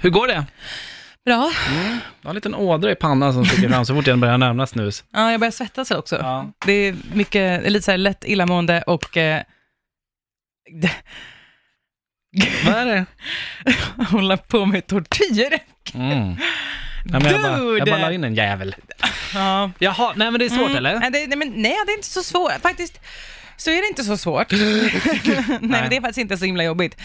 Hur går det? Bra. Du har en liten ådra i pannan som sticker fram så fort jag börjar närma snus. Ja, jag börjar svettas också. Ja. Det är mycket, lite så här lätt illamående och... Eh, Vad är det? hålla på med tortyr. Mm. Nej, men jag, bara, jag Dude! bara la in en jävel. Ja. Jaha, nej men det är svårt Mm. eller? Nej, det, nej, men, nej, det är inte så svårt. Faktiskt så är det inte så svårt. nej, men det är faktiskt inte så himla jobbigt.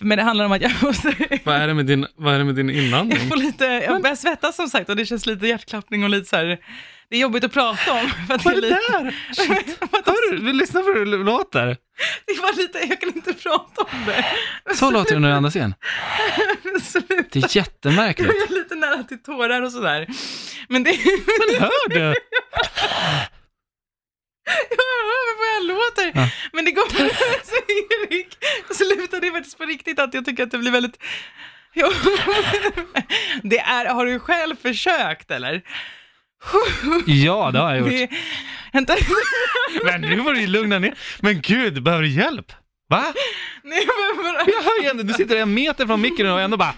Men det handlar om att jag måste... Vad är det med din, vad är det med din Jag, inandning? får lite, jag börjar svettas som sagt och det känns lite hjärtklappning och lite så här... Det är jobbigt att prata om. För att Vad är det lite, där? Shit. Hör du? Vi lyssnar på hur det låter. det är bara lite... Jag kan inte prata om det. Så låter det när du andas igen. Absolut. Det är jättemärkligt. Jag är lite nära till tårar och sådär. Men det... Hör du? Jag hör vad jag låter. Ja. Men det går så Erik, sluta, det är faktiskt på riktigt att jag tycker att det blir väldigt... Jo, det är, har du själv försökt eller? Ja, det har jag gjort. Det, vänta, Men nu får du ju lugna ner. Men gud, behöver du hjälp? Va? nej men bara, Eh, Jag hör igen det. Du sitter en meter från micken och ändå bara...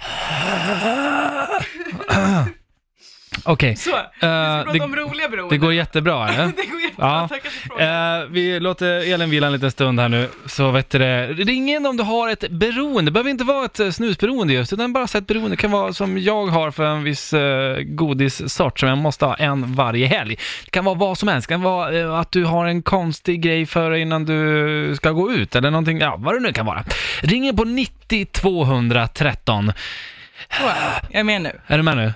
Okej, så. Vi Eh, ska prata det- om roliga det beroenden. går jättebra eller? Det går jättebra, Ja. tackar för frågan. Eh, vi låter Elin vila en liten stund här nu, så vet du det. Ring in om du har ett beroende. Det behöver inte vara ett eh, snusberoende just, utan bara så ett beroende. Det kan vara som jag har för en viss eh, godissort som jag måste ha en varje helg. Det kan vara vad som helst. Det kan vara eh, att du har en konstig grej för dig innan du ska gå ut eller någonting. Ja, vad det nu kan vara. Ring in på 90 213. Så, jag är med nu. Är du med nu?